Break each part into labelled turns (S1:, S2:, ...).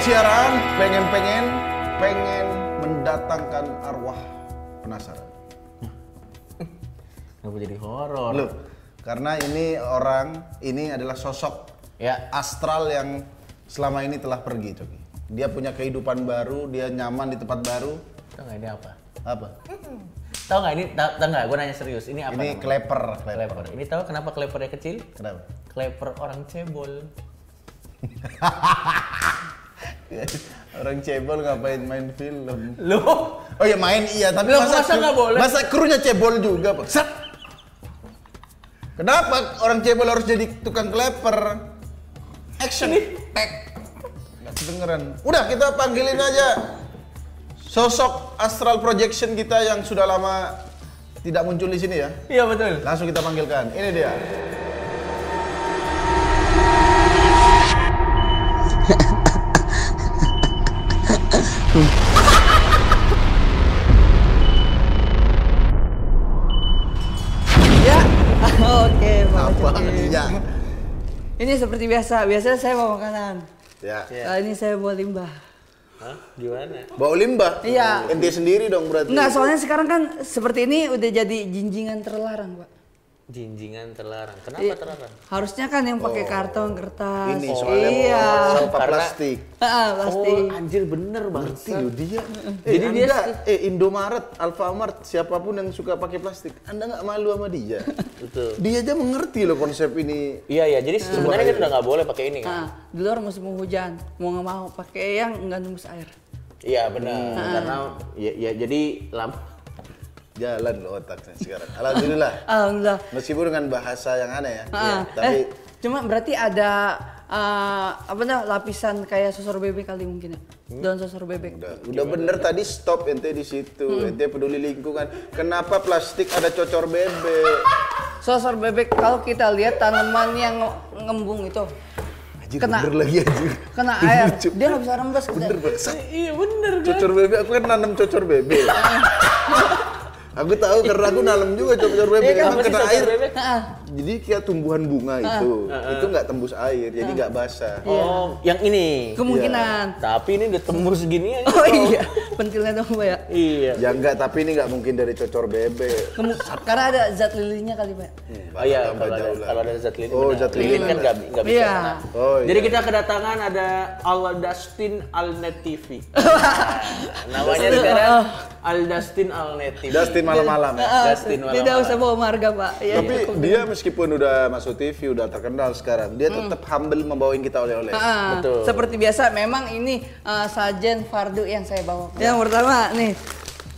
S1: siaran pengen-pengen pengen mendatangkan arwah penasaran.
S2: Kenapa jadi horor?
S1: Loh, karena ini orang ini adalah sosok
S2: Ya.
S1: astral yang selama ini telah pergi, Coki. Dia punya kehidupan baru, dia nyaman di tempat baru.
S2: Tau nggak ini apa?
S1: Apa?
S2: Tau nggak ini? Tau, tau nggak? Gue nanya serius. Ini
S1: Ini
S2: apa? namanya?
S1: kleper, kleper.
S2: Kleper. Ini tahu kenapa klepernya kecil?
S1: Kenapa?
S2: Kleper orang cebol.
S1: orang cebol ngapain main film?
S2: Loh,
S1: Oh ya main iya, tapi
S2: Loh, masa nggak boleh?
S1: Masa krunya cebol juga, Pak. Set. Kenapa orang cebol harus jadi tukang kleper? Action. Tek. Nggak kedengeran. Udah kita panggilin aja sosok astral projection kita yang sudah lama tidak muncul di sini ya.
S2: iya betul.
S1: Langsung kita panggilkan. Ini dia.
S3: Ya, oke Pak
S1: Apa?
S3: Jokowi.
S1: Iya.
S3: Ini seperti biasa, biasanya saya bawa makanan.
S1: Ya.
S3: Kali ini saya bawa limbah.
S2: Hah? Gimana?
S1: Bau limbah?
S3: Iya.
S1: Ente sendiri dong berarti.
S3: Enggak, soalnya sekarang kan seperti ini udah jadi jinjingan terlarang, Pak.
S2: Jinjingan terlarang. Kenapa
S3: Iya.
S2: terlarang?
S3: Harusnya kan yang pakai karton, kertas.
S1: Oh. Ini soalnya
S3: iya. Ah,
S1: sampah
S2: Karena-
S1: plastik.
S3: Heeh, pasti.
S2: Oh, anjir bener banget.
S1: Ngerti loh dia.
S2: Jadi
S1: Jadi
S2: dia
S1: dia eh Indomaret, Alfamart, siapapun yang suka pakai plastik, Anda nggak malu sama dia.
S2: Betul.
S1: dia aja mengerti loh konsep ini.
S2: Iya iya, jadi sebenarnya kan udah nggak boleh pakai ini kan?
S3: Nah, di luar musim hujan, mau nggak mau pakai yang nggak nembus air.
S2: Iya benar, karena ya, ya jadi lama.
S1: Jalan loh otaknya sekarang. Alhamdulillah.
S3: Alhamdulillah.
S1: Meskipun dengan bahasa yang aneh ya,
S2: Ah,
S3: Heeh.
S1: tapi
S3: eh, cuma berarti ada eh, apa namanya lapisan kayak sosor bebek kali mungkin ya.
S1: Hmm?
S3: Daun sosor bebek.
S1: udah, udah bener tadi stop ente di situ.
S2: Hmm.
S1: Ente peduli lingkungan. Kenapa plastik ada cocor bebek?
S3: Sosor bebek kalau kita lihat tanaman yang nge- ngembung itu
S1: Anjir,
S3: Kena-
S1: bener lagi anjir.
S3: kena air,
S1: Lucu.
S3: dia nggak bisa rembes. gitu ya?
S1: Bener banget.
S2: Iya bener Ah.
S1: Cocor bebek, aku kan nanam cocor bebek. aku tahu karena aku nanam juga cocor bebek.
S2: Iya,
S1: Emang
S2: apa sih
S1: kena
S2: cocor
S1: air.
S2: bebek?
S3: Heeh.
S1: Jadi kayak tumbuhan bunga itu,
S2: Ah,
S1: itu nggak tembus air, jadi nggak basah.
S2: Oh, yang ini.
S3: Kemungkinan.
S2: Tapi ini udah tembus gini aja.
S3: Oh iya, pentilnya dong Pak ya.
S2: Iya.
S1: Ya enggak, tapi ini nggak mungkin dari cocor bebek.
S3: Kemu- karena ada zat lilinnya kali Pak. ya.
S2: Oh iya,
S1: Tambah
S2: kalau ada,
S1: jauh lah.
S2: kalau ada zat lilin.
S1: Oh,
S2: benar.
S1: zat lilin
S2: kan
S1: ada.
S2: nggak nggak bisa.
S3: Iya.
S2: kena.
S1: Oh, iya.
S2: Jadi kita kedatangan ada Al Dustin Alnet TV. Nah, namanya
S3: Aduh.
S2: sekarang Al Dustin Alnet TV.
S1: Dustin malam-malam.
S2: Iya,
S1: ya?
S3: Heeh,
S2: Justin malam-malam.
S3: Ah, Tidak usah bawa marga Pak. Ya,
S1: Tapi dia meskipun udah masuk TV, udah terkenal sekarang, dia tetap humble membawain kita oleh-oleh.
S3: Heeh.
S2: Betul.
S3: Seperti biasa, memang ini eh, sajen fardu yang saya bawa. Yang pertama nih,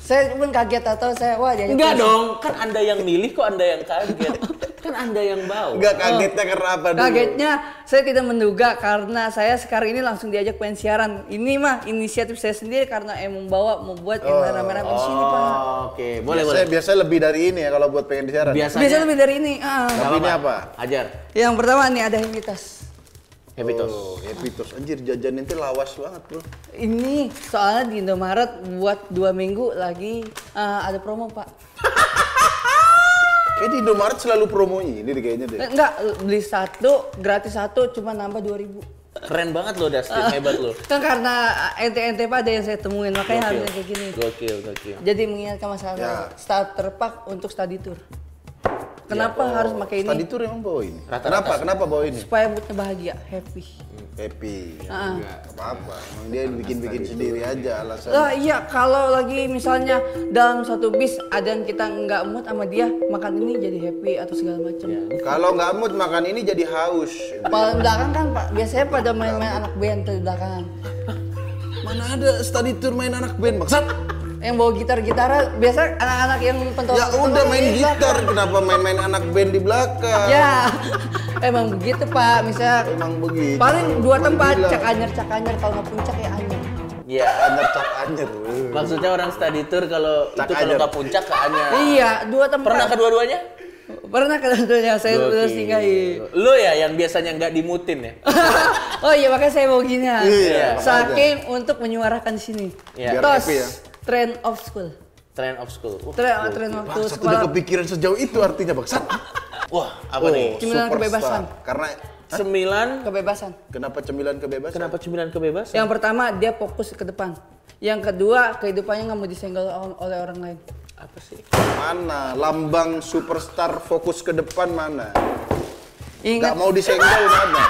S3: saya pun kaget atau saya wah jadi
S2: Enggak dong, kan Anda yang milih kok Anda yang kaget. kan Anda yang bau.
S1: Enggak kagetnya karena apa dulu?
S3: Kagetnya saya tidak menduga karena saya sekarang ini langsung diajak pengen siaran. Ini mah inisiatif saya sendiri karena emang bawa mau buat yang merah-merah di sini pak.
S2: Oh, Oke, boleh boleh.
S1: Saya biasanya lebih dari ini ya kalau buat pengen siaran.
S2: Biasanya
S3: Biasanya lebih dari ini. ah.
S1: Tapi ini apa?
S2: Ajar.
S3: Yang pertama nih ada hemitas.
S2: Habitus.
S1: Oh, Epitos. Anjir, jajan ente lawas banget, Bro.
S3: Ini soalnya di Indomaret buat dua minggu lagi ah, ada promo pak.
S1: Kayak di Indomaret selalu promo ini deh kayaknya deh.
S3: Eh, Enggak beli satu gratis satu cuma nambah dua ribu.
S2: Keren banget lo Dustin, hebat lo.
S3: Kan karena ente-ente pak ada yang saya temuin makanya harusnya Iya, kayak gini.
S2: Gokil, gokil.
S3: Jadi mengingatkan masalah
S1: Ya.
S3: starter pack untuk study tour. Kenapa
S1: Ya.
S3: harus pakai ini?
S1: Tadi tuh emang bawa ini.
S2: Rata-rata
S1: Kenapa? Kenapa bawa ini?
S3: supaya moodnya bahagia, happy.
S1: Happy.
S3: Ah.
S1: Enggak apa-apa. Emang dia bikin-bikin sendiri aja alasan.
S3: Lah iya kalau lagi misalnya dalam satu bis ada yang kita nggak mood sama dia makan ini jadi happy atau segala macam.
S1: Ya. Kalau nggak mood makan ini jadi haus.
S3: Paling belakang kan pak biasanya pada main-main anak band tuh di belakangan.
S1: Mana ada study tour main anak band maksud?
S3: Yang bawa gitar gitaran biasanya anak-anak yang pentol.
S1: Ya
S3: pentol
S1: udah main
S3: di
S1: gitar,
S3: belakang.
S1: kenapa main-main anak band di belakang?
S3: Iya, Ya emang begitu pak misalnya
S1: Emang begitu.
S3: paling dua
S1: Gua
S3: tempat
S1: bilang,
S3: cak anyer cak anyer kalau nggak puncak ya anyer.
S2: Iya.
S1: Anyer cak anyer.
S2: Maksudnya orang study tour kalau
S1: Cak
S2: itu kalau
S1: ajar.
S2: nggak puncak ke Anya.
S3: Iya dua tempat.
S2: Pernah kedua-duanya?
S3: Pernah kedengarannya saya udah singgahi.
S2: Lu ya yang biasanya nggak dimutin ya?
S3: oh iya makanya saya bawa gini ya.
S1: Iya,
S3: Saking untuk menyuarakan di sini.
S2: Iya.
S1: Biar
S3: Terus
S1: happy ya.
S3: trend of school.
S2: Trend of school. Uh,
S3: Trend, trend waktu
S1: Bangsat
S3: sekolah.
S1: udah kepikiran sejauh itu artinya bangsat. Oh,
S2: Wah, apa nih?
S3: Gimana
S1: superstar.
S3: kebebasan?
S1: Karena
S2: Uh. Sembilan.
S3: Kebebasan.
S1: Kenapa cemilan kebebasan?
S2: Kenapa sembilan kebebasan?
S3: Yang pertama dia fokus ke depan. Yang kedua kehidupannya nggak mau disenggol o- oleh orang lain.
S2: Apa sih?
S1: Mana? Lambang superstar fokus ke depan mana? Gak
S3: Ingat
S1: mau disenggol mana?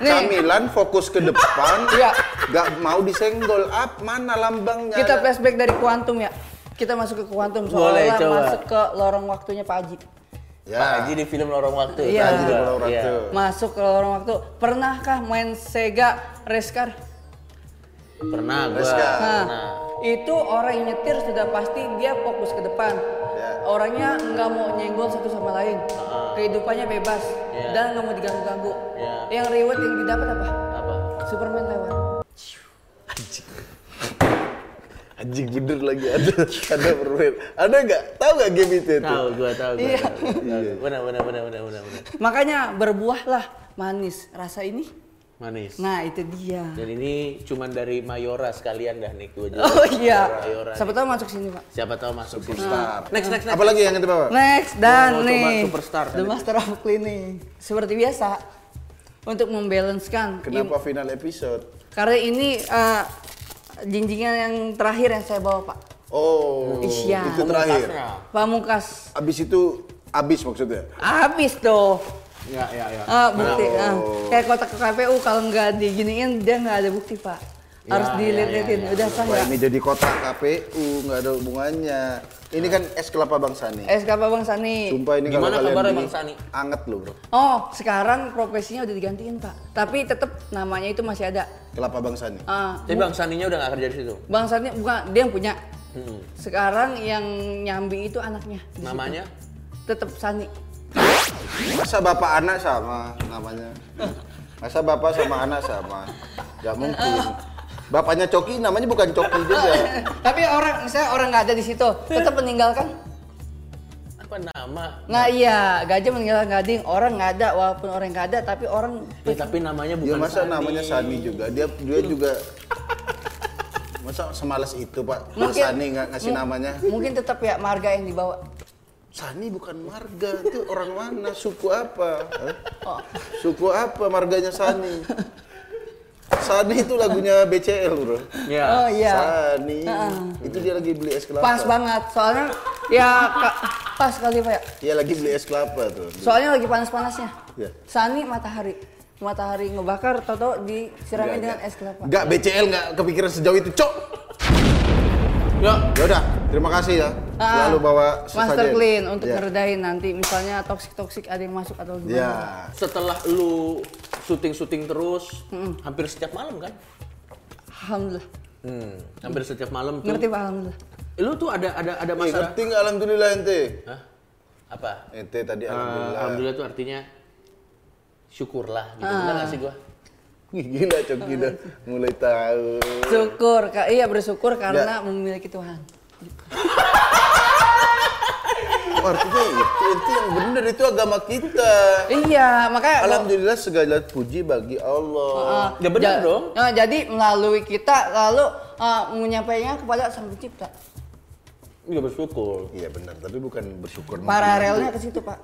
S3: nih
S1: Camilan fokus ke depan,
S3: Iya.
S1: gak mau disenggol. Up mana lambangnya?
S3: kita
S1: Ada-
S3: flashback dari kuantum ya. Kita masuk ke kuantum
S2: Boleh,
S3: soalnya
S2: coba.
S3: masuk ke lorong waktunya Pak Haji.
S1: Ya.
S2: Pak Haji di film Lorong Waktu.
S3: Iya.
S1: Haji di Pulau
S2: Iya.
S1: Ratu.
S3: Masuk ke lorong waktu. Pernahkah main Sega race car?
S2: Iya. Pernah gua.
S1: Terus kan?
S3: Nah,
S2: Pernah.
S3: itu orang yang nyetir sudah pasti dia fokus ke depan.
S1: Ya.
S3: Orangnya nggak mau nyenggol satu sama lain. Kehidupannya bebas
S2: Ya.
S3: dan nggak mau diganggu-ganggu.
S2: Ya.
S3: Yang reward yang didapat apa?
S2: Apa?
S3: Superman lewat.
S1: Anjing bener lagi ada ada permen. Ada nggak? Tahu nggak game itu? itu?
S2: Tahu gua tahu gua.
S3: Iya.
S2: tahu, gua tahu. Benar benar benar benar benar. benar.
S3: Makanya berbuahlah manis rasa ini.
S2: Manis.
S3: Nah itu dia.
S2: Dan ini cuman dari Mayora sekalian dah nih gua jual.
S3: Oh iya.
S2: Mayora.
S3: Siapa tahu masuk sini pak.
S2: Siapa tahu masuk
S3: Hmm.
S2: sini.
S1: Superstar.
S2: Next next next.
S1: Apalagi yang kita bawa?
S3: Next
S2: Mau
S3: dan
S2: coba
S3: nih
S2: superstar.
S3: The Master of Cleaning. Seperti biasa untuk membalancekan
S1: Kenapa final episode?
S3: Karena ini eh, jinjingan yang terakhir yang saya bawa pak.
S1: Oh,
S3: Iya.
S1: itu terakhir.
S2: Tasnya.
S3: Pamungkas.
S1: Abis itu abis maksudnya.
S3: Habis tuh.
S2: Ya ya ya.
S3: Ah, bukti. ah. kayak kotak ke KPU kalau nggak diginiin dia nggak ada bukti pak. Harus
S2: Ya,
S3: dililit-litin.
S2: ya, ya, ya.
S3: Udah sah
S1: Wah,
S3: ya.
S1: ini jadi kotak KPU nggak ada hubungannya. Ini kan es kelapa Bang Sani.
S3: SKP Eh, Bang Sani.
S1: Sumpah ini kalau
S2: Gimana
S1: kalian
S2: kabarnya,
S1: beli,
S2: Bang Sani?
S1: anget loh bro.
S3: Oh sekarang profesinya udah digantiin pak. Tapi tetap namanya itu masih ada.
S1: Kelapa Bang Sani.
S3: Ah,
S2: Tapi Bang Saninya udah nggak kerja di situ. Hmm.
S3: Bang Sani bukan dia yang punya. Sekarang yang nyambi itu anaknya.
S2: Namanya?
S3: Tetap Sani.
S1: Masa bapak anak sama namanya? Masa bapak sama anak sama? Gak mungkin. Bapaknya Coki namanya bukan Coki juga.
S3: Tapi orang misalnya orang nggak ada di situ tetap meninggalkan.
S2: Apa nama?
S3: Nah iya, gajah meninggalkan gading, orang nggak ada walaupun orang nggak ada tapi orang
S2: Ya, tapi namanya
S1: Dia
S2: bukan
S1: masa
S2: Sani.
S1: namanya Sani juga. Dia dia juga masa semalas itu pak Masa
S3: Mungkin-
S1: Sani nggak ngasih namanya
S3: mungkin tetap ya marga yang dibawa.
S1: Sani bukan marga itu orang mana suku apa Hah?
S3: Oh.
S1: suku apa marganya Sani Sani itu lagunya BCL bro
S2: Ya.
S3: Oh iya.
S1: Sani itu dia lagi beli es kelapa
S3: Pas banget soalnya ya ka- pas kali Pak ya.
S1: dia lagi beli es kelapa tuh
S3: Soalnya lagi panas-panasnya.
S1: Iya.
S3: Sani matahari. Matahari ngebakar toto disirami
S1: Iya,
S3: dengan es kelapa.
S1: Enggak, BCL nggak kepikiran sejauh itu, Cok.
S2: Ya.
S1: Ya udah, terima kasih ya.
S3: Ah,
S1: Selalu bawa
S3: Master
S1: sesajen.
S3: clean untuk
S1: ya.
S3: ngeredain nanti misalnya toksik-toksik ada yang masuk atau gimana.
S1: Ya.
S2: Setelah lu syuting-syuting terus, hampir setiap malam kan?
S3: Alhamdulillah.
S2: Hmm. Hampir setiap malam tuh.
S3: Ngerti Pak alhamdulillah.
S2: Lu tuh ada ada ada
S1: Nih,
S2: masalah.
S1: ngerti nggak alhamdulillah ente?
S2: Hah? Apa?
S1: Ente tadi
S2: Eh,
S1: alhamdulillah.
S2: alhamdulillah tuh artinya syukurlah gitu. Benar nggak sih gua?
S1: Wih, Gila, Cok gila.
S3: Ah,
S1: Mulai tahu.
S3: Syukur, Kak. Iya bersyukur karena memiliki Tuhan.
S1: Oh, artinya itu, itu yang bener itu agama kita.
S3: Iya, makanya lo-
S1: Alhamdulillah segala puji bagi
S3: Ah,
S1: Allah.
S2: Ya benar
S3: Eh, ja-
S2: dong.
S3: Nah, jadi melalui kita lalu eh, menyampaikannya kepada Sang Pencipta.
S2: Iya bersyukur.
S1: Iya benar, tapi bukan bersyukur.
S3: Paralelnya ke situ, Pak.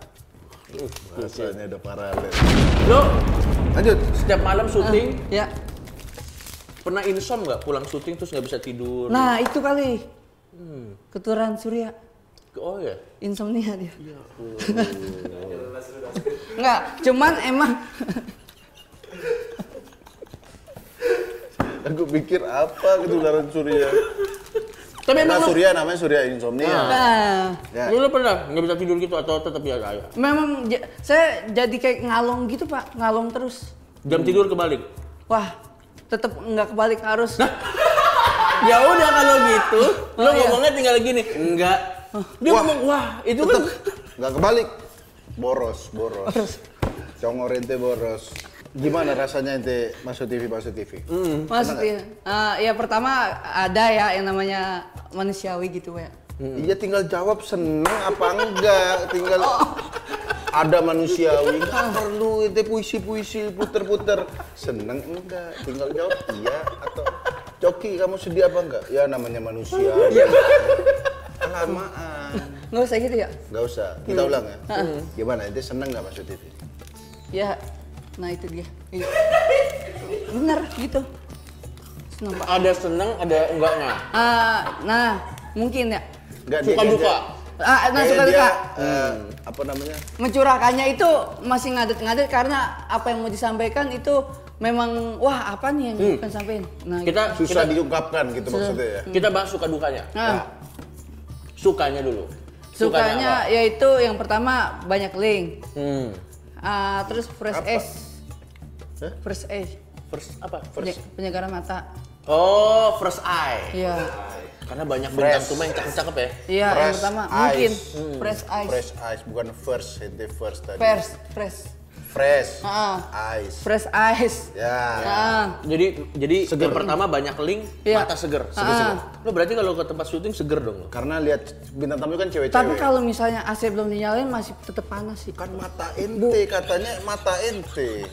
S1: Rasanya ada paralel.
S2: Lu
S1: Lanjut.
S2: setiap malam syuting
S3: Ya.
S2: pernah insom nggak pulang syuting terus nggak bisa tidur?
S3: Nah, itu kali. Keturunan Surya.
S2: Oh ya.
S3: Insomnia dia. Ya Enggak, cuman emang
S1: Aku pikir apa ketularan Surya.
S2: Tapi
S1: Karena
S2: emang lu,
S1: Surya namanya Surya insomnia.
S3: nah,
S1: Ya.
S2: lu, lu pernah nggak bisa tidur gitu atau tetap biasa aja?
S3: memang j- saya jadi kayak ngalong gitu, Pak. Ngalong terus.
S2: Jam tidur kebalik.
S3: Wah, tetap nggak kebalik harus.
S2: Nah, Ya udah kalau gitu, lu
S3: Oh, iya.
S2: ngomongnya tinggal gini. Enggak. Dia
S1: Wah,
S2: ngomong, "Wah, itu
S1: Tetep
S2: kan
S1: nggak kebalik. Boros, boros. Congor ente boros. Gimana rasanya ente masuk TV masuk TV?
S3: Hmm. Maksudnya, eh, ya pertama ada ya yang namanya manusiawi gitu ya.
S1: Iya tinggal jawab seneng apa enggak, tinggal ada manusiawi nggak perlu ente puisi-puisi puter-puter seneng enggak, tinggal jawab iya atau Coki kamu sedih apa enggak? Ya namanya manusia. Kelamaan.
S3: Nggak usah gitu ya?
S1: Gak usah, kita ulang ya. Gimana, ente seneng gak masuk TV?
S3: Ya Nah itu dia. Iya. Bener gitu. Seneng Pak.
S2: Ada seneng, ada enggaknya.
S3: Ah, nah mungkin ya.
S1: Enggak
S2: Suka duka.
S3: Ah, nah suka
S1: dia,
S3: duka.
S1: eh, apa namanya?
S3: Mencurahkannya itu masih ngadet-ngadet karena apa yang mau disampaikan itu memang wah apa nih yang pengen sampein. Nah, gitu.
S2: Kita
S1: Susah
S2: kita,
S1: diungkapkan gitu maksudnya ya.
S2: kita bahas suka dukanya.
S3: Nah,
S2: Sukanya dulu.
S3: sukanya
S2: apa?
S3: yaitu yang pertama banyak link.
S2: Hmm.
S3: Ah, terus fresh
S1: Apa?
S3: edge.
S1: Hah?
S3: Fresh edge.
S2: First apa?
S3: Penye-
S2: First.
S3: Penyegaran mata.
S2: Oh, first eye.
S3: Iya.
S2: Karena banyak
S1: Fresh.
S2: bintang cuma yang cakep-cakep ya.
S3: Iya, yang
S1: Fresh
S3: pertama
S1: eyes.
S3: mungkin
S2: Hmm.
S3: fresh eyes.
S1: Fresh eyes bukan first, itu first tadi.
S3: Fresh, fresh.
S1: Fresh
S3: Ah.
S1: eyes.
S3: Fresh eyes.
S1: Ya.
S3: Ah.
S2: Jadi jadi yang pertama banyak link,
S3: Iya.
S2: mata seger.
S3: Seger-seger.
S2: Lo berarti kalau ke tempat syuting seger dong lo.
S1: Karena lihat bintang tamu kan cewek-cewek.
S3: Tapi kalau misalnya AC belum dinyalain masih tetap panas sih.
S1: kan mata ente katanya mata ente.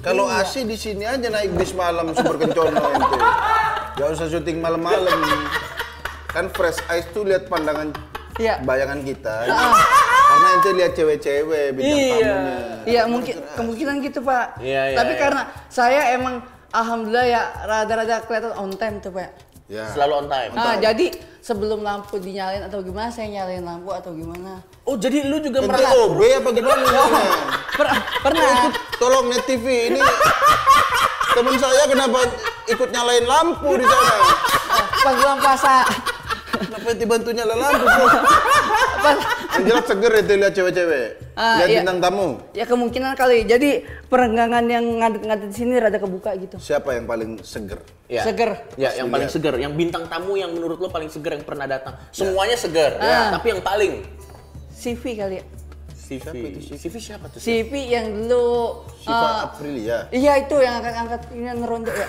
S1: Kalau
S3: Iya.
S1: asi di sini aja naik bis malam super kencono ente. Gak usah syuting malam-malam. Kan fresh eyes tuh lihat pandangan
S3: Iya. Ah.
S1: bayangan kita. Karena ente lihat cewek-cewek bintang tamunya.
S3: Iya mungkin kemungkinan gitu pak.
S2: Iya, iya,
S3: Tapi
S2: iya.
S3: karena saya emang alhamdulillah ya rada-rada kelihatan on time tuh pak.
S1: Ya.
S2: Selalu on time.
S3: Ah, jadi sebelum lampu dinyalain atau gimana saya nyalain lampu atau gimana?
S2: Oh, jadi lu juga
S1: Ente
S2: merasa
S1: OB apa gimana?
S3: Per- pernah.
S1: Tolong net TV ini temen saya kenapa ikut nyalain lampu di sana?
S3: pas bulan puasa
S1: Kenapa ente bantu nyala lampu? Yang jelas seger ente lihat cewek-cewek.
S3: Ah,
S1: lihat
S3: iya.
S1: bintang tamu.
S3: ya kemungkinan kali jadi perenggangan yang ngadet-ngadet di sini rada kebuka gitu
S1: Siapa yang paling seger?
S2: Ya.
S3: Seger.
S2: Ya, yang paling seger, yang bintang tamu yang menurut lo paling seger yang pernah datang. Semuanya
S3: Iya.
S2: seger,
S3: Ah.
S2: ya. tapi yang paling
S3: CV kali ya
S2: CV. CV siapa tuh?
S3: CV yang dulu
S1: Siva
S3: eh,
S1: Aprilia.
S3: iya itu yang angkat angkat ini neronde ya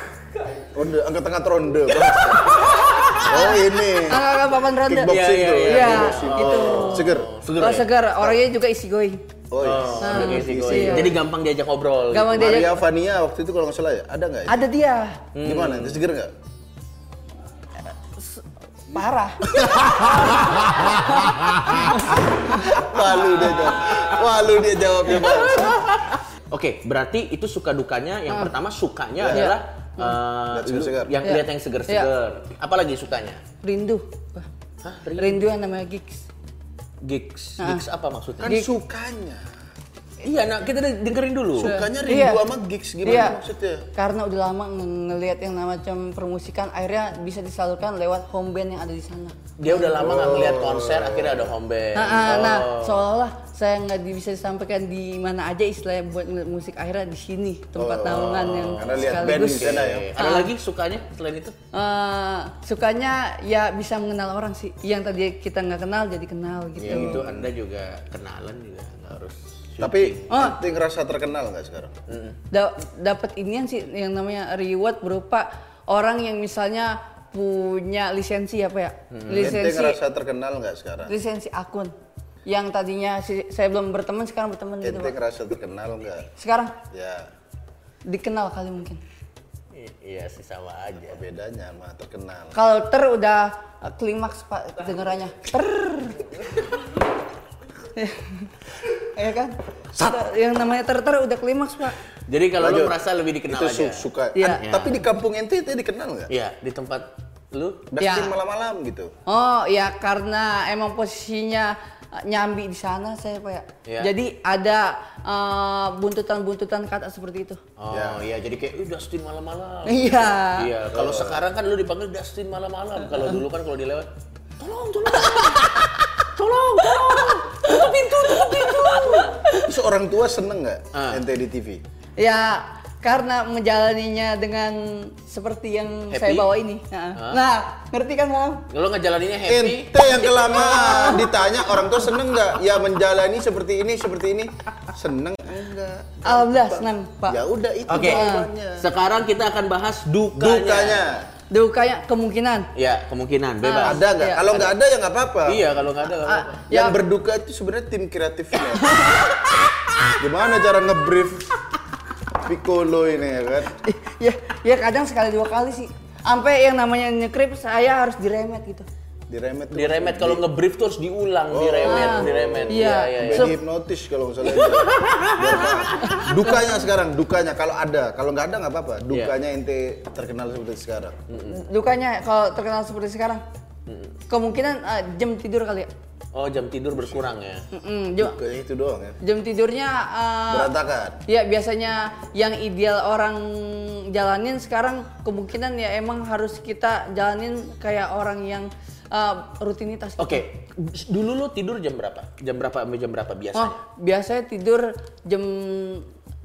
S1: Ronde, angkat angkat ronde. oh ini.
S3: angkat angkat papan Ah, ronde
S1: Kickboxing
S2: Iya,
S1: tuh.
S2: iya,
S1: ya,
S3: iya.
S1: kickboxing.
S3: Iya, gitu.
S1: Seger.
S2: Seger.
S3: oh
S2: ya?
S3: segar orangnya juga isi going
S1: Oh iya.
S2: Oh, udah kayak si
S1: Iya.
S2: Goy. Jadi gampang diajak ngobrol.
S3: gampang
S1: Maria
S3: diajak
S1: Vania waktu itu kalau nggak salah ya, ada nggak? Ya?
S3: Oh, ada dia
S1: Gimana? Itu seger nggak?
S3: parah
S1: Walu dia jawab. Walu dia jawabnya Bang.
S2: Oke, berarti itu suka dukanya. Yang pertama sukanya
S1: Iya.
S2: adalah
S1: Lihat
S2: eh, lu-
S1: seger-seger.
S2: yang
S3: Iya.
S2: lihat yang seger-seger. Apalagi sukanya?
S3: rindu Wah,
S2: Hah,
S3: rindu yang namanya gigs
S2: gigs. Gigs apa maksudnya?
S1: Kan
S3: Gig.
S1: sukanya.
S2: Iya, nah kita dengerin dulu.
S1: Sukanya
S3: Iya.
S1: rindu sama gigs gimana
S3: Iya.
S1: maksudnya?
S3: karena udah lama nge- ngelihat yang macam permusikan akhirnya bisa disalurkan lewat home band yang ada di sana
S2: Dia udah lama nggak ngeliat
S1: Oh.
S2: konser, akhirnya ada home band.
S3: Nah, ah, nah,
S2: Oh.
S3: seolah-olah saya nggak di- bisa disampaikan di mana aja istilahnya buat ngeliat musik akhirnya di sini tempat naungan yang
S1: Oh, Karena lihat band
S3: sekaligus
S1: di sana ya.
S2: Oke, Ada lagi sukanya selain itu?
S3: eh, sukanya ya bisa mengenal orang sih yang tadi kita nggak kenal jadi kenal gitu.
S1: Iya,
S2: Ya itu Anda juga kenalan juga nggak harus.
S1: Tapi
S3: Oh.
S1: nanti ngerasa terkenal nggak sekarang?
S3: Da- dapat inian sih yang namanya reward berupa orang yang misalnya punya lisensi apa ya
S1: Hmm. Ente
S3: lisensi
S1: ngerasa terkenal nggak sekarang?
S3: lisensi akun yang tadinya si- saya belum berteman sekarang berteman gitu
S1: Ente
S3: Pak.
S1: ngerasa terkenal nggak?
S3: sekarang
S1: Ya.
S3: dikenal kali mungkin
S2: I- Iya sih sama aja.
S1: Apa bedanya sama terkenal?
S3: Kalau ter udah eh, klimaks pak dengerannya ter. ya kan? Yang namanya ter ter udah klimaks pak.
S2: Jadi kalau lu
S1: Lanjut.
S2: merasa lebih dikenal
S1: itu
S2: aja.
S1: su- suka.
S3: Iya.
S1: An- Tapi di kampung ente itu dikenal nggak?
S2: Iya, di tempat lu
S1: Dustin
S3: Iya.
S1: malam-malam gitu.
S3: Oh ya karena emang posisinya eh, nyambi di sana saya pak ya.
S2: Iya.
S3: Jadi ada eh, buntutan-buntutan kata seperti itu.
S2: Oh iya, jadi kayak "Ih, Dustin malam-malam.
S3: Iya.
S2: Iya, kalau sekarang kan lu dipanggil Dustin malam-malam. Kalau dulu kan kalau dilewat, tolong, tolong, tolong, tolong, tutup pintu, tutup pintu.
S1: Terus orang tua seneng nggak
S2: Ah.
S1: ente di TV?
S3: Ya karena menjalaninya dengan seperti yang saya
S2: Happy?
S3: bawa ini. Nah, nah, ngerti kan Mam?
S2: Lo ngejalaninnya happy.
S1: Ente yang kelamaan ditanya orang tua seneng nggak? Ya menjalani seperti ini seperti ini seneng enggak?
S3: Alhamdulillah senang pak.
S1: Ya udah itu
S2: Oke,
S1: jawabannya.
S2: sekarang kita akan bahas dukanya.
S1: Dukanya
S3: Dukanya kemungkinan
S2: Ya, kemungkinan bebas.
S1: ada nggak?
S3: Iya,
S1: Kalau nggak ada ya nggak
S3: Ah.
S1: apa-apa.
S2: Iya, kalau nggak ada nggak apa-apa.
S1: Yang berduka itu sebenarnya tim kreatifnya. Gimana cara ngebrief Piccolo ini ya kan?
S3: Iya, ya ya kadang sekali dua kali sih sampai yang namanya nyekrip saya harus diremet gitu
S1: diremet tuh.
S2: Diremet kalau ngebrief tuh harus diulang, diremet,
S3: Ah,
S2: diremet.
S3: iya.
S1: Sampai
S3: So-
S1: dihipnotis kalau nggak salah. dia. Biar tahu. dukanya sekarang, dukanya kalau ada, kalau nggak ada nggak apa-apa. Dukanya ente terkenal seperti sekarang.
S3: Hmm. Dukanya kalau terkenal seperti sekarang. Kemungkinan eh, jam tidur kali ya.
S2: Oh, jam tidur berkurang ya.
S3: Mm-mm, jam,
S1: Dukanya itu doang ya.
S3: jam tidurnya eh,
S1: Berantakan.
S3: ya biasanya yang ideal orang jalanin sekarang kemungkinan ya emang harus kita jalanin kayak orang yang eh, rutinitas. gitu.
S2: Oke, dulu lo tidur jam berapa? Jam berapa sampai jam berapa biasanya?
S3: Oh, biasanya tidur jam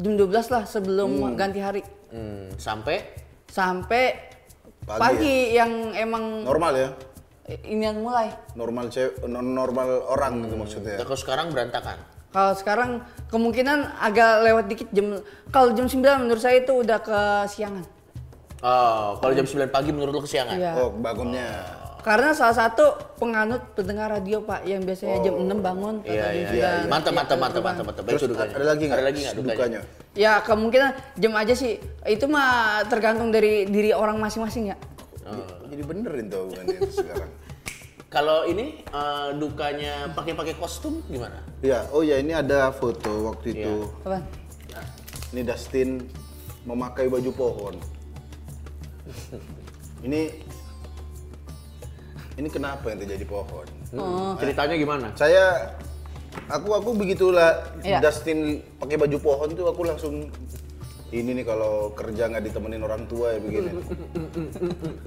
S3: jam 12 lah sebelum ganti hari.
S2: Hmm, sampai
S3: Sampai
S1: Pagi
S3: pagi,
S2: ya?
S3: yang emang
S1: Normal ya.
S3: inian mulai.
S1: Normal cewek, normal orang gitu maksudnya.
S2: kalau sekarang berantakan.
S3: Kalau sekarang kemungkinan agak lewat dikit jam kalau jam 9 menurut saya itu udah kesiangan.
S2: Oh, kalau jam 9 pagi menurut lo kesiangan?
S3: Iya.
S1: Oh, bangunnya.
S3: Karena salah satu penganut pendengar radio Pak yang biasanya jam 6 bangun
S2: Iya, iya,
S3: jam
S2: iya, iya. Mantap,
S3: 9. Iya,
S2: mantap,
S3: ke
S2: mantap,
S3: rumah.
S2: mantap, mantap. Itu
S1: Terus
S2: dukanya.
S1: ada lagi nggak?
S2: Oh, Ada lagi nggak dukanya?
S1: dukanya?
S3: Ya kemungkinan jam aja sih itu mah tergantung dari diri orang masing-masing ya.
S2: Oh.
S1: Jadi benerin tuh hubungannya itu sekarang.
S2: Kalau ini eh, dukanya pakai-pakai kostum gimana?
S1: Ya, oh ya ini ada foto waktu
S2: Iya.
S1: itu.
S3: Apaan?
S1: Ini Dustin memakai baju pohon. ini ini kenapa yang terjadi pohon?
S2: Hmm, Ceritanya gimana?
S1: Saya aku aku begitulah
S3: Iya.
S1: Dustin pakai baju pohon tuh aku langsung ini nih kalau kerja nggak ditemenin orang tua ya begini.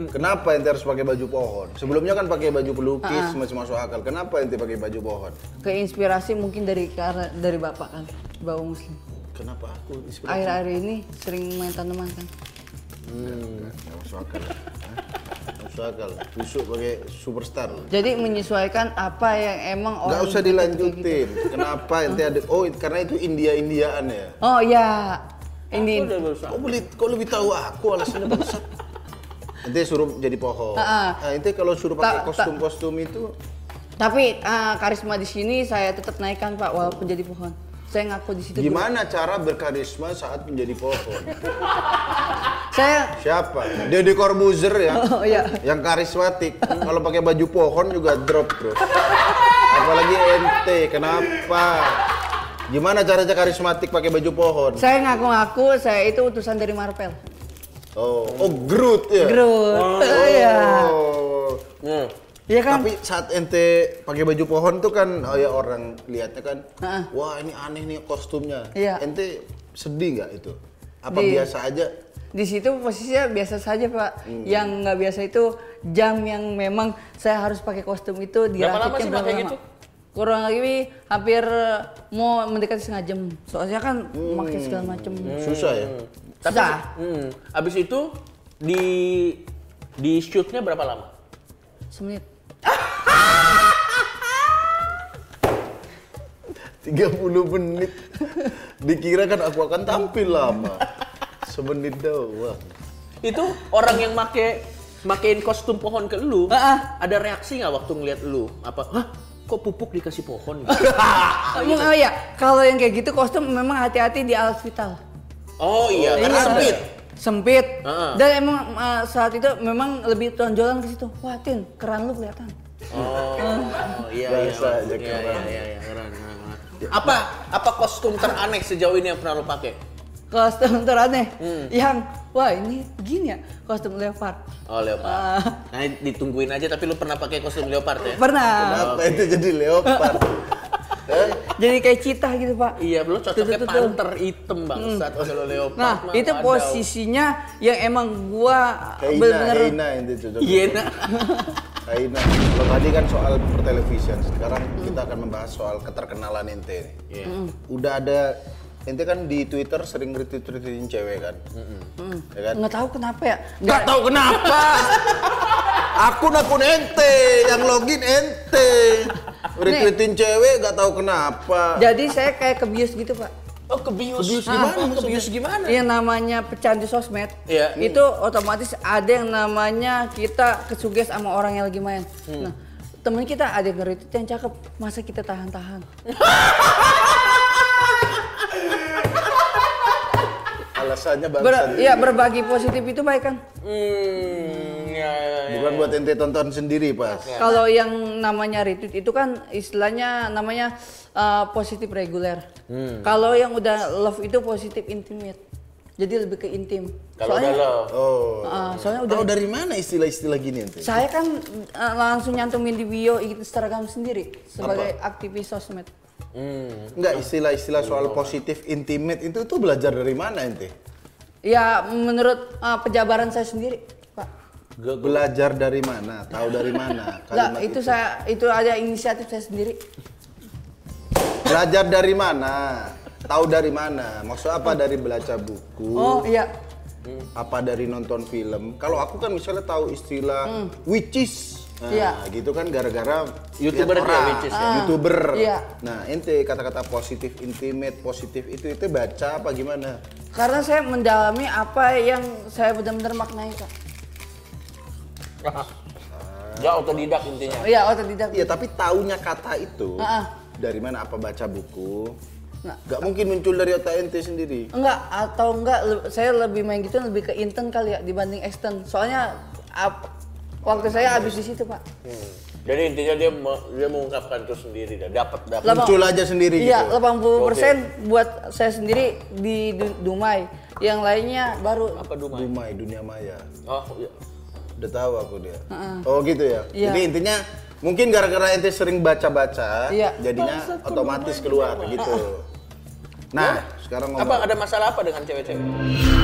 S1: Kenapa ente harus pakai baju pohon? Sebelumnya kan pakai baju pelukis masih masuk akal. Kenapa ente pakai baju pohon?
S3: Keinspirasi mungkin dari karena dari Bapak kan, Bapak Muslim.
S1: Kenapa aku inspirasi?
S3: Akhir-akhir ini sering main tanaman kan.
S1: Nggak masuk akal. Hah? Nggak masuk akal. Busuk pakai superstar.
S3: Jadi menyesuaikan apa yang emang
S1: Nggak
S3: orang
S1: usah
S3: suka kayak Oh, gitu.
S1: dilanjutin. Kenapa ente ada? Oh, karena itu India-Indiaan ya.
S3: Oh ya, ini
S2: Udah berusaha.
S1: Kok beli, kok lebih tahu aku alasannya bangsat. Ente suruh jadi pohon.
S3: Ah,
S1: Nah,
S3: ah.
S1: ente kalau suruh
S3: Ta-
S1: pakai
S3: ta-
S1: kostum-kostum itu
S3: Tapi eh, karisma di sini saya tetap naikkan Pak walaupun jadi pohon. Saya ngaku di situ. dulu.
S1: gimana cara berkarisma saat menjadi pohon?
S3: Saya
S1: Siapa? Deddy Corbuzier ya.
S3: Oh iya.
S1: Yang karismatik. Kalau pakai baju pohon juga drop bro. Apalagi ente, kenapa? Gimana caranya karismatik pakai baju pohon?
S3: saya ngaku-ngaku saya itu utusan dari Marvel.
S1: Oh, oh Groot ya.
S3: Groot. Iya.
S1: Oh.
S2: Hmm.
S3: Iya kan?
S1: Tapi saat ente pakai baju pohon tuh kan oh ya orang lihatnya kan,
S3: Heeh.
S1: wah ini aneh nih kostumnya.
S3: Iya.
S1: Ente sedih nggak itu? Apa
S3: Di-
S1: biasa aja?
S3: Di situ posisinya biasa saja Pak.
S2: Hmm.
S3: Yang nggak biasa itu jam yang memang saya harus pakai kostum itu
S2: Berapa lama
S3: dirakitnya
S2: sih
S3: berapa
S2: pakai
S3: lama?
S2: gitu?
S3: Kurang lebih hampir mau mendekati setengah jam. Soalnya kan
S2: Hmm.
S3: memakai segala macam.
S1: Susah ya.
S2: Tapi,
S3: Susah.
S2: hmm, abis itu di di shootnya berapa lama?
S3: Semenit.
S1: 30 menit. Dikira kan aku akan tampil lama. Semenit doang.
S2: Itu orang yang make makein kostum pohon ke lu,
S3: Ah,
S2: ada reaksi nggak waktu ngeliat lu? Apa? Hah? Kok pupuk dikasih pohon? gitu?"
S3: Emang, oh iya, kalau yang kayak gitu kostum memang hati-hati di alat vital.
S2: oh iya, karena
S3: Iya.
S2: sempit.
S3: Sempit.
S2: Heeh.
S3: Dan emang uh, saat itu memang lebih tonjolan ke situ. Wah, Tin, keran lu kelihatan.
S2: Oh, iya iya.
S1: Biasa aja,
S2: iya,
S1: keren.
S2: iya, iya, iya, keren, keren, keren. Apa apa kostum teraneh sejauh ini yang pernah lo pakai?
S3: Kostum teraneh
S2: Hmm.
S3: yang wah ini gini ya kostum leopard.
S2: Oh, leopard.
S3: Ah.
S2: Nah, ditungguin aja tapi lu pernah pakai kostum leopard ya?
S3: Pernah.
S1: Kenapa ente jadi leopard? Hah?
S3: Jadi kayak cita gitu, Pak.
S2: Iya, lu cocoknya
S3: Tuh, tuh, tuh.
S2: panter hitam bangsat kalau leopard.
S3: Nah,
S2: mah
S3: itu
S2: padau.
S3: posisinya yang emang gua
S1: Kaina,
S3: bener-bener
S1: Kaina ente cocok.
S2: Iya,
S1: Kaina. Kalau tadi kan soal pertelevisian, sekarang kita akan membahas soal keterkenalan ente.
S2: Iya.
S1: Udah ada ente kan di Twitter sering retweet-retweetin cewek kan? Ya kan?
S3: nggak tahu kenapa ya.
S1: Gak tahu kenapa. akun akun ente yang login ente. Retweetin cewek gak tahu kenapa.
S3: Jadi saya kayak kebius gitu, Pak.
S2: Oh, kebius. Kebius
S3: gimana
S2: kebius gimana?
S3: Yang namanya pecandu sosmed,
S2: Iya.
S3: itu otomatis ada yang namanya kita kesuges sama orang yang lagi main. Nah, temen kita ada yang nge-retweet yang cakep, masa kita tahan-tahan?
S1: Alasannya
S3: Ber
S1: bangsa.
S3: iya. ya berbagi positif itu baik kan?
S2: Hmm, ya, ya, ya.
S1: Bukan Beneran buat ente tonton sendiri pas.
S3: Kalau yang namanya retweet itu kan istilahnya namanya uh, positif reguler. Kalau yang udah love itu positif intimate. Jadi lebih ke intim.
S2: Kalau udah
S3: soalnya,
S2: love.
S1: Oh.
S3: uh, soalnya udah
S1: Tahu dari mana istilah-istilah gini ente?
S3: saya kan uh, langsung nyantumin di bio Instagram sendiri sebagai aktivis sosmed.
S2: Hmm.
S1: Enggak istilah-istilah soal positif intimate itu tuh belajar dari mana ente?
S3: Ya menurut uh, pejabaran saya sendiri, Pak.
S2: Gak
S1: Belajar dari mana? Tahu dari mana?
S3: Enggak,
S1: Kalimat
S3: itu saya itu ada inisiatif saya sendiri.
S1: Belajar dari mana? Tahu dari mana? Maksud apa dari baca buku?
S3: Oh iya.
S1: Apa dari nonton film? Kalau aku kan misalnya tahu istilah witches. Nah,
S3: Hmm. Iya.
S1: gitu kan gara-gara
S2: Youtuber
S1: lihat
S2: dia,
S1: orang.
S2: witches ya?
S3: Ah,
S1: Youtuber.
S3: iya.
S1: Nah, ente kata-kata positif, intimate, positif itu itu baca apa gimana?
S3: Karena saya mendalami apa yang saya benar-benar maknai, Pak.
S2: Gak otodidak intinya.
S3: Iya, oh tidak.
S1: Iya, tapi taunya kata itu
S3: Ah, ah.
S1: dari mana? Apa baca buku?
S3: Nah.
S1: Gak mungkin muncul dari otak ente sendiri.
S3: Enggak atau enggak le- saya lebih main gitu lebih ke intern kali ya dibanding extern. Soalnya ap- waktu saya habis di situ, Pak.
S2: Hmm. Jadi intinya dia me- dia mengungkapkan itu sendiri dah. Dapat dapat.
S3: Lama-
S1: Muncul aja sendiri
S3: Iya,
S1: gitu.
S3: 80% buat saya sendiri di Du- Dumai. Yang lainnya baru
S2: Apa Dumai?
S1: Dumai dunia maya.
S2: Oh iya.
S1: Udah tahu aku dia. Oh gitu ya.
S3: Iya.
S1: Jadi intinya mungkin gara-gara ente sering baca-baca,
S3: Iya.
S1: jadinya otomatis keluar gitu. Nah, sekarang ngomong.
S2: Apa ada masalah apa dengan cewek-cewek?